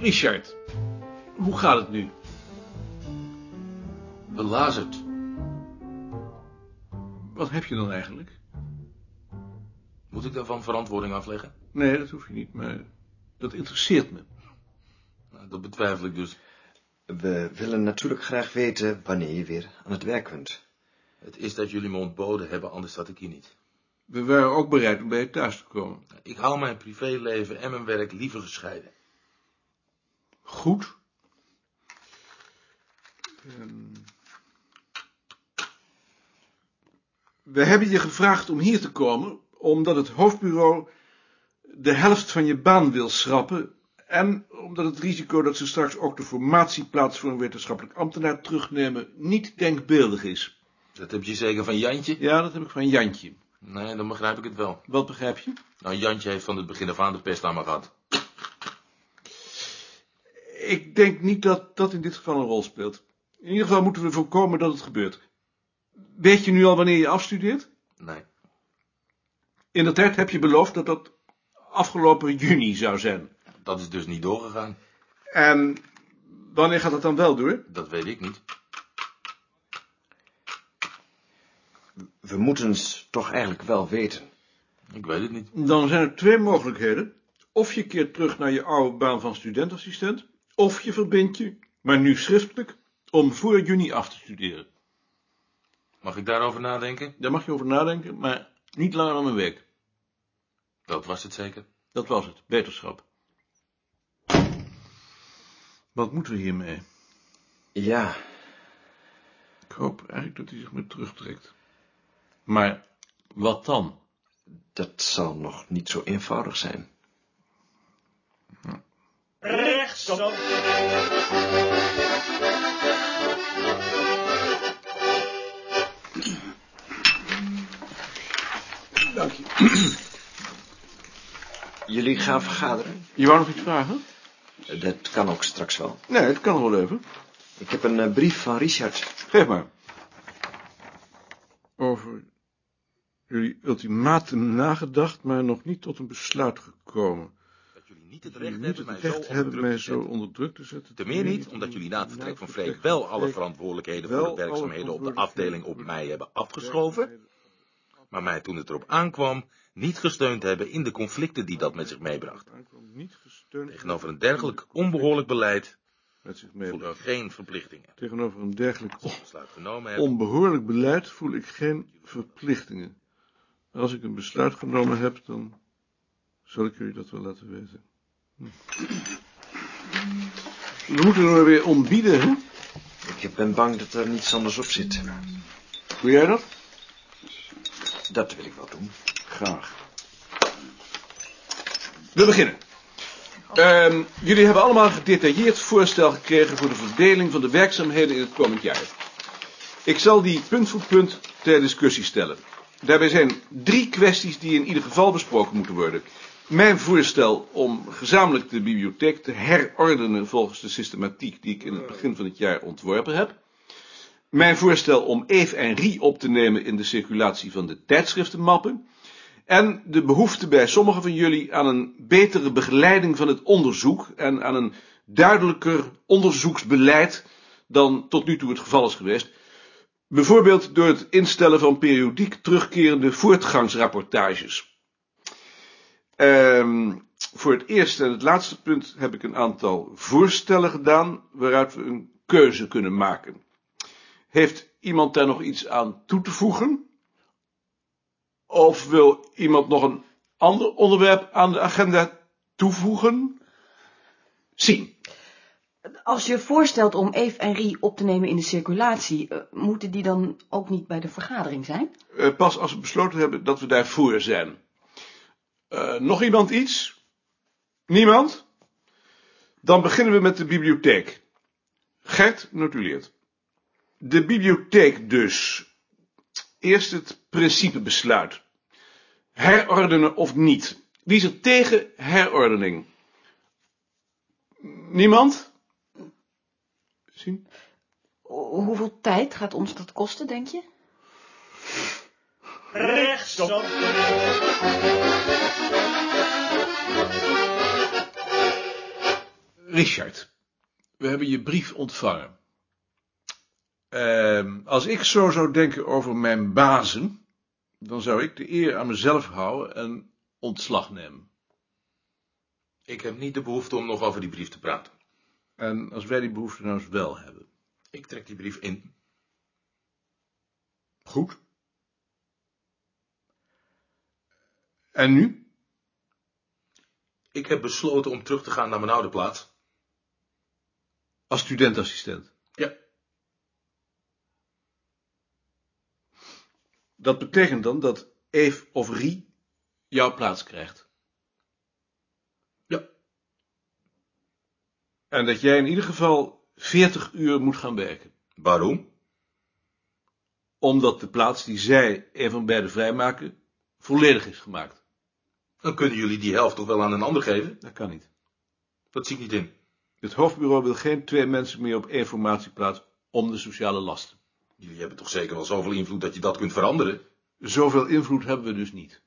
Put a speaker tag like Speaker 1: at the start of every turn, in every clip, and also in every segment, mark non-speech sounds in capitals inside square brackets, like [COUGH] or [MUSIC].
Speaker 1: Richard, hoe gaat het nu? Belazerd. Wat heb je dan eigenlijk?
Speaker 2: Moet ik daarvan verantwoording afleggen?
Speaker 1: Nee, dat hoef je niet, maar dat interesseert me.
Speaker 2: Nou, dat betwijfel ik dus.
Speaker 3: We willen natuurlijk graag weten wanneer je weer aan het werk kunt.
Speaker 2: Het is dat jullie me ontboden hebben, anders zat ik hier niet. Nou,
Speaker 1: We waren ook bereid om bij je thuis te komen.
Speaker 2: Ik hou mijn privéleven en mijn werk liever gescheiden.
Speaker 1: Goed. Ehm, we hebben je gevraagd om hier te komen, omdat het hoofdbureau de helft van je baan wil schrappen en omdat het risico dat ze straks ook de formatieplaats voor een wetenschappelijk ambtenaar terugnemen niet denkbeeldig is.
Speaker 2: Dat heb je zeker van Jantje?
Speaker 1: Ja, dat heb ik van Jantje.
Speaker 2: Nee, dan begrijp ik het wel.
Speaker 1: Wat begrijp je?
Speaker 2: Nou, Jantje heeft van het begin af aan de pest aan me gehad.
Speaker 1: Ik denk niet dat dat in dit geval een rol speelt. In ieder geval moeten we voorkomen dat het gebeurt. Weet je nu al wanneer je afstudeert?
Speaker 2: Nee,
Speaker 1: In de tijd heb je beloofd dat dat afgelopen juni zou zijn.
Speaker 2: dat is dus niet doorgegaan.
Speaker 1: En wanneer gaat dat dan wel door?
Speaker 2: Dat weet ik niet.
Speaker 3: We moeten het toch eigenlijk wel weten.
Speaker 2: Ik weet het niet.
Speaker 1: Dan zijn er twee mogelijkheden. Of je keert terug naar je oude baan van studentassistent, of je verbindt je, maar nu schriftelijk, om voor juni af te studeren.
Speaker 2: Mag ik daarover nadenken?
Speaker 1: Daar mag je over nadenken, maar niet langer dan een week.
Speaker 2: Dat was het zeker.
Speaker 1: Dat was het, wetenschap. Wat moeten we hiermee?
Speaker 3: Ja,
Speaker 1: Ik hoop eigenlijk dat hij zich met terugtrekt. Maar wat dan?
Speaker 3: dat zal nog niet zo eenvoudig zijn.
Speaker 4: Rechtsom.
Speaker 1: Dank je.
Speaker 3: Jullie gaan vergaderen?
Speaker 1: Je wou nog iets vragen?
Speaker 3: Dat kan ook straks wel.
Speaker 1: Nee, het kan nog wel even.
Speaker 3: Ik heb een eh, brief van Richard.
Speaker 1: Geef maar. Over jullie ultimatum nagedacht, maar nog niet tot een besluit gekomen.
Speaker 2: Dat jullie niet het
Speaker 1: Jullie
Speaker 2: recht
Speaker 1: niet
Speaker 2: hebben
Speaker 1: het recht hebben
Speaker 2: mij zo onder druk
Speaker 1: mij
Speaker 2: te
Speaker 1: zo nou,
Speaker 2: zetten.
Speaker 1: onder druk te zetten.
Speaker 2: Te meer niet, omdat jullie na het vertrek van Freek wel alle verantwoordelijkheden voor
Speaker 1: wel
Speaker 2: de
Speaker 1: alle
Speaker 2: werkzaamheden op de afdeling
Speaker 1: verantwoordelijkheden
Speaker 2: op
Speaker 1: voor
Speaker 2: mij
Speaker 1: de
Speaker 2: hebben afgeschoven, maar mij toen het erop aankwam niet gesteund hebben in de conflicten die dat met zich meebracht.
Speaker 1: Niet gesteund
Speaker 2: Tegenover een dergelijk onbehoorlijk beleid
Speaker 1: met zich
Speaker 2: voel ik
Speaker 1: meebracht.
Speaker 2: geen verplichtingen.
Speaker 1: Tegenover een dergelijk
Speaker 2: Als ik het besluit genomen heb,
Speaker 1: onbehoorlijk beleid voel ik geen verplichtingen. Als ik een besluit genomen heb, dan zal ik jullie dat wel laten weten. Hm. We moeten er weer ontbieden, hè?
Speaker 3: Ik ben bang dat er niets anders op zit.
Speaker 1: Doe jij dat?
Speaker 3: Dat wil ik wel doen.
Speaker 1: Graag. We beginnen. Ehm, jullie hebben allemaal een gedetailleerd voorstel gekregen voor de verdeling van de werkzaamheden in het komend jaar. Ik zal die punt voor punt ter discussie stellen. Daarbij zijn drie kwesties die in ieder geval besproken moeten worden. Mijn voorstel om gezamenlijk de bibliotheek te herordenen volgens de systematiek die ik in het begin van het jaar ontworpen heb. Mijn voorstel om Eve en Rie op te nemen in de circulatie van de tijdschriftenmappen. En de behoefte bij sommigen van jullie aan een betere begeleiding van het onderzoek en aan een duidelijker onderzoeksbeleid dan tot nu toe het geval is geweest. Bijvoorbeeld door het instellen van periodiek terugkerende voortgangsrapportages. Ehm, voor het eerste en het laatste punt heb ik een aantal voorstellen gedaan waaruit we een keuze kunnen maken. Heeft iemand daar nog iets aan toe te voegen? Of wil iemand nog een ander onderwerp aan de agenda toevoegen? Zien.
Speaker 5: Als je voorstelt om Eve en Rie op te nemen in de circulatie, eh, moeten die dan ook niet bij de vergadering zijn?
Speaker 1: Eh, pas als we besloten hebben dat we daarvoor zijn. Eh, nog iemand iets? Niemand? Dan beginnen we met de bibliotheek. Gert notuleert. De bibliotheek dus. Eerst het principebesluit. Herordenen of niet. Wie is er tegen herordening? Niemand? Zien?
Speaker 5: Ho- Hoeveel tijd gaat ons dat kosten, denk je?
Speaker 4: Rechtsom.
Speaker 1: Richard, we hebben je brief ontvangen. Ehm, als ik zo zou denken over mijn bazen, dan zou ik de eer aan mezelf houden en ontslag nemen.
Speaker 2: Ik heb niet de behoefte om nog over die brief te praten.
Speaker 1: En als wij die behoefte nou eens wel hebben.
Speaker 2: Ik trek die brief in.
Speaker 1: Goed. En nu?
Speaker 2: Ik heb besloten om terug te gaan naar mijn oude plaats.
Speaker 1: Als studentassistent.
Speaker 2: Ja.
Speaker 1: Dat betekent dan dat Eve of Rie jouw plaats krijgt.
Speaker 2: Ja.
Speaker 1: En dat jij in ieder geval 40 uur moet gaan werken.
Speaker 2: Waarom?
Speaker 1: Omdat de plaats die zij en van beiden vrijmaken volledig is gemaakt.
Speaker 2: Dan kunnen jullie die helft toch wel aan een ander geven?
Speaker 1: Dat kan niet.
Speaker 2: Dat zie ik niet in.
Speaker 1: Het hoofdbureau wil geen twee mensen meer op één formatieplaats om de sociale lasten.
Speaker 2: Jullie hebben toch zeker wel zoveel invloed dat je dat kunt veranderen?
Speaker 1: Zoveel invloed hebben we dus niet.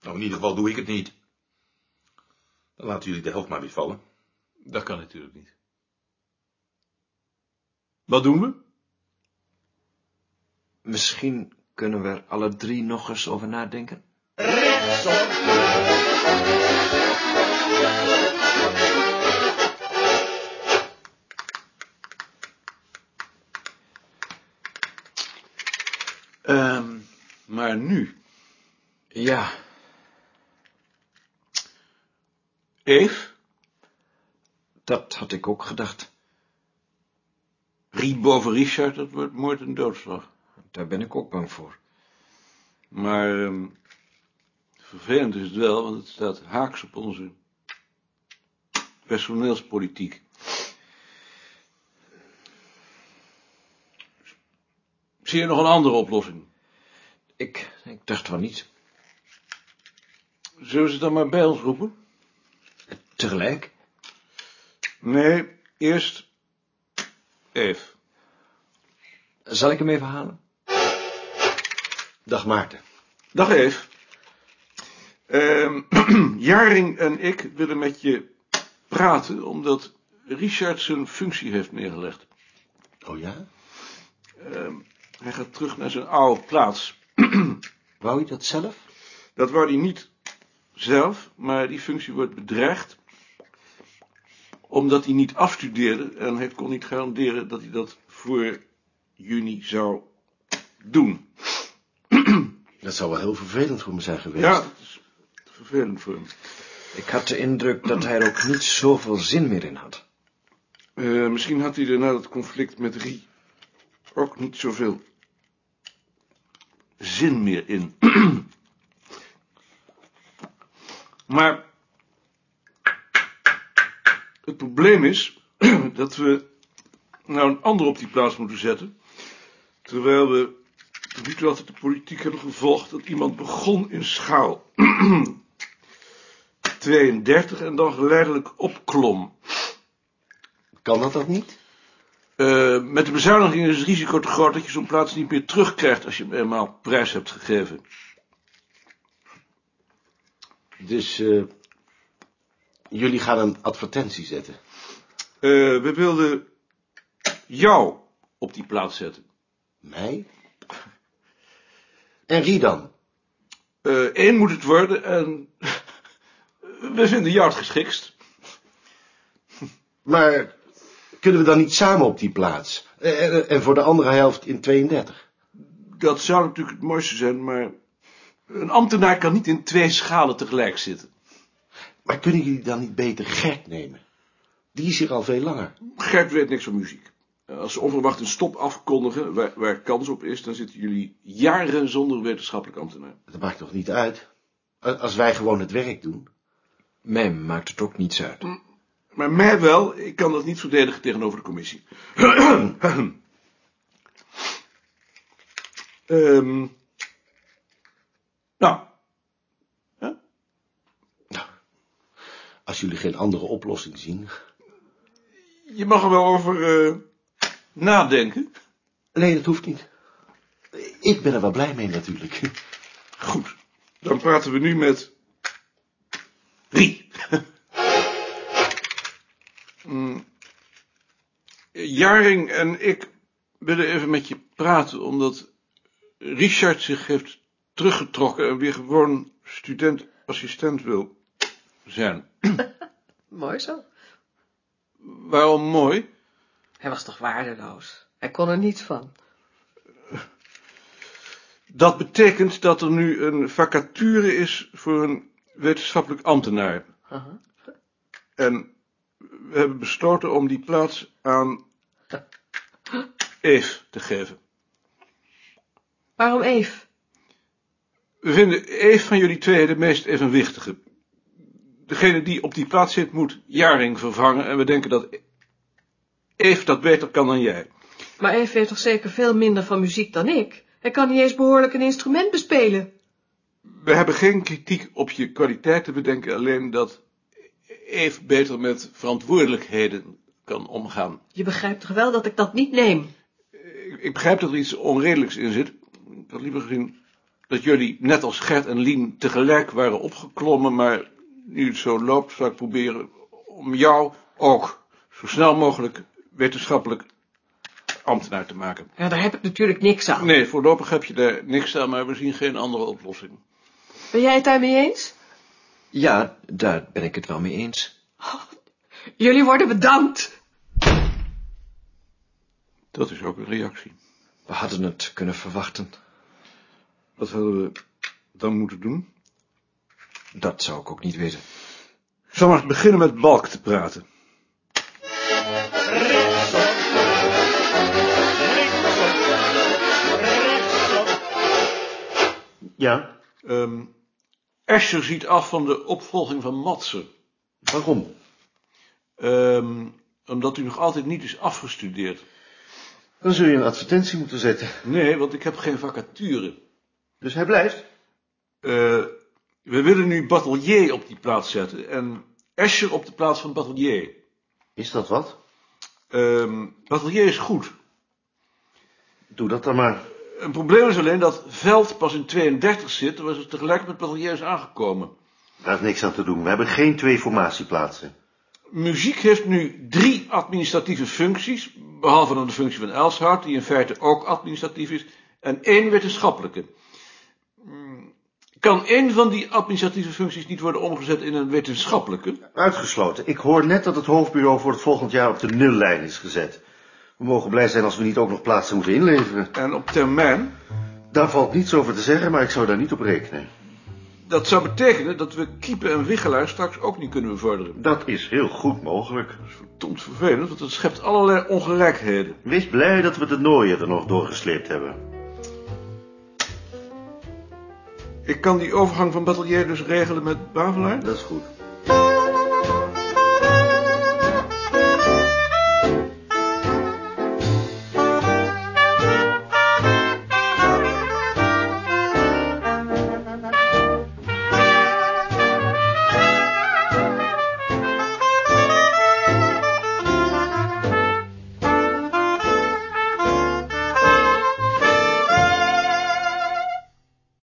Speaker 2: Nou, in ieder geval doe ik het niet. Dan laten jullie de helft maar weer vallen.
Speaker 1: Dat kan natuurlijk niet. Wat doen we?
Speaker 3: Misschien kunnen we er alle drie nog eens over nadenken.
Speaker 4: rechtsom,
Speaker 1: Ehm, maar nu,
Speaker 3: Ja,
Speaker 1: Eve,
Speaker 3: dat had ik ook gedacht.
Speaker 1: Riet boven Richard, dat wordt moord en doodslag.
Speaker 3: Daar ben ik ook bang voor.
Speaker 1: Maar ehm, vervelend is het wel, want het staat haaks op onze personeelspolitiek. Zie je nog een andere oplossing?
Speaker 3: Ik, ik dacht van niet.
Speaker 1: Zullen we ze dan maar bij ons roepen?
Speaker 3: Tegelijk?
Speaker 1: Nee, eerst Eve.
Speaker 3: Zal ik hem even halen? Dag Maarten.
Speaker 1: Dag Eve. Ehm, [CLEARS THROAT] Jaring en ik willen met je praten omdat Richard zijn functie heeft neergelegd. Ehm,
Speaker 2: Oh ja?
Speaker 1: Hij gaat terug naar zijn oude plaats. [CLEARS THROAT]
Speaker 3: Wou je dat zelf?
Speaker 1: Dat wou hij niet zelf, maar die functie wordt bedreigd omdat hij niet afstudeerde en hij kon niet garanderen dat hij dat voor juni zou doen.
Speaker 3: Dat zou wel heel vervelend voor me zijn geweest.
Speaker 1: Ja, dat is vervelend voor hem.
Speaker 3: Ik had de indruk dat hij er ook niet zoveel zin meer in had.
Speaker 1: Eh, misschien had hij er na dat conflict met Rie ook niet zoveel zin meer in. [CLEARS THROAT] maar het probleem is [CLEARS THROAT] dat we nou een ander op die plaats moeten zetten. Terwijl we tot nu toe altijd de politiek hebben gevolgd dat iemand begon in schaal [CLEARS THROAT] 32 en dan geleidelijk opklom.
Speaker 3: Kan dat dat niet?
Speaker 1: Eh, met de bezuiniging is het risico te groot dat je zo'n plaats niet meer terugkrijgt als je hem eenmaal prijs hebt gegeven.
Speaker 6: Dus eh, jullie gaan een advertentie zetten.
Speaker 1: Eh, we wilden jou op die plaats zetten.
Speaker 6: Mij? En Rie dan?
Speaker 1: Eén Eh, moet het worden en [LAUGHS] we vinden jou het geschikst.
Speaker 6: Maar kunnen we dan niet samen op die plaats? Eh, eh, en voor de andere helft in 32?
Speaker 1: Dat zou natuurlijk het mooiste zijn, maar een ambtenaar kan niet in twee schalen tegelijk zitten.
Speaker 6: Maar kunnen jullie dan niet beter Gert nemen? Die is hier al veel langer.
Speaker 1: Gert weet niks van muziek. Eh, Als ze onverwacht een stop afkondigen, waar, waar kans op is, dan zitten jullie jaren zonder wetenschappelijk ambtenaar.
Speaker 6: Dat maakt toch niet uit? A- Als wij gewoon het werk doen.
Speaker 3: Mij maakt het ook niets uit.
Speaker 1: Maar mij wel, ik kan dat niet verdedigen tegenover de commissie. [CLEARS THROAT] Ehm nou,
Speaker 6: Als jullie geen andere oplossing zien.
Speaker 1: je mag er wel over eh, nadenken.
Speaker 6: Nee, dat hoeft niet. Ik ben er wel blij mee natuurlijk.
Speaker 1: Goed, [LAUGHS] dan praten we nu met Rie. Mm. Jaring en ik willen even met je praten, omdat Richard zich heeft teruggetrokken en weer gewoon student-assistent wil zijn.
Speaker 7: Mooi zo.
Speaker 1: Waarom mooi?
Speaker 7: Hij was toch waardeloos? Hij kon er niets van.
Speaker 1: Dat betekent dat er nu een vacature is voor een wetenschappelijk ambtenaar.
Speaker 7: Aha.
Speaker 1: En we hebben besloten om die plaats aan Eve te geven.
Speaker 7: Waarom Eve?
Speaker 1: We vinden Eve van jullie twee de meest evenwichtige. Degene die op die plaats zit moet Jaring vervangen en we denken dat Eve dat beter kan dan jij.
Speaker 7: Maar Eve heeft toch zeker veel minder van muziek dan ik? Hij kan niet eens behoorlijk een instrument bespelen.
Speaker 1: We hebben geen kritiek op je kwaliteiten, we denken alleen dat Eve beter met verantwoordelijkheden kan omgaan.
Speaker 7: Je begrijpt toch wel dat ik dat niet neem?
Speaker 1: Ik, ik begrijp dat er iets onredelijks in zit. Ik had liever gezien dat jullie net als Gert en Lien tegelijk waren opgeklommen, maar nu het zo loopt, zou ik proberen om jou ook zo snel mogelijk wetenschappelijk ambtenaar te maken.
Speaker 7: Ja, daar heb ik natuurlijk niks aan.
Speaker 1: Nee, voorlopig heb je daar niks aan, maar we zien geen andere oplossing.
Speaker 7: Ben jij het daarmee eens?
Speaker 3: Ja, daar ben ik het wel mee eens.
Speaker 7: Jullie worden bedankt.
Speaker 1: Dat is ook een reactie.
Speaker 3: We hadden het kunnen verwachten.
Speaker 1: Wat hadden we dan moeten doen?
Speaker 3: Dat zou ik ook niet weten.
Speaker 1: Ik zal maar beginnen met Balk te praten.
Speaker 6: Ja.
Speaker 1: Ehm Escher ziet af van de opvolging van Matsen.
Speaker 6: Waarom?
Speaker 1: Ehm, omdat u nog altijd niet is afgestudeerd.
Speaker 6: Dan zul je een advertentie moeten zetten.
Speaker 1: Nee, want ik heb geen vacature.
Speaker 6: Dus hij blijft.
Speaker 1: Eh, we willen nu Batelier op die plaats zetten en Escher op de plaats van Batelier.
Speaker 6: Is dat wat?
Speaker 1: Ehm Batelier is goed.
Speaker 6: Doe dat dan maar.
Speaker 1: Een probleem is alleen dat Veld pas in 32 zit, terwijl ze tegelijk met Batelier is aangekomen.
Speaker 6: Daar is niks aan te doen. We hebben geen twee formatieplaatsen.
Speaker 1: Muziek heeft nu drie administratieve functies, behalve dan de functie van Elshout, die in feite ook administratief is, en één wetenschappelijke. Mm, Kan één van die administratieve functies niet worden omgezet in een wetenschappelijke?
Speaker 6: Uitgesloten. Ik hoor net dat het hoofdbureau voor het volgend jaar op de nullijn is gezet. We mogen blij zijn als we niet ook nog plaatsen moeten inleveren.
Speaker 1: En op termijn,
Speaker 6: Daar valt niets over te zeggen, maar ik zou daar niet op rekenen.
Speaker 1: dat zou betekenen dat we Kiepen en Wichelaar straks ook niet kunnen bevorderen.
Speaker 6: Dat is heel goed mogelijk.
Speaker 1: Verdomd vervelend, want dat schept allerlei ongelijkheden.
Speaker 6: Wees blij dat we de nooien er nog doorgesleept hebben.
Speaker 1: Ik kan die overgang van Batelier dus regelen met Bavelaar?
Speaker 6: Dat is goed.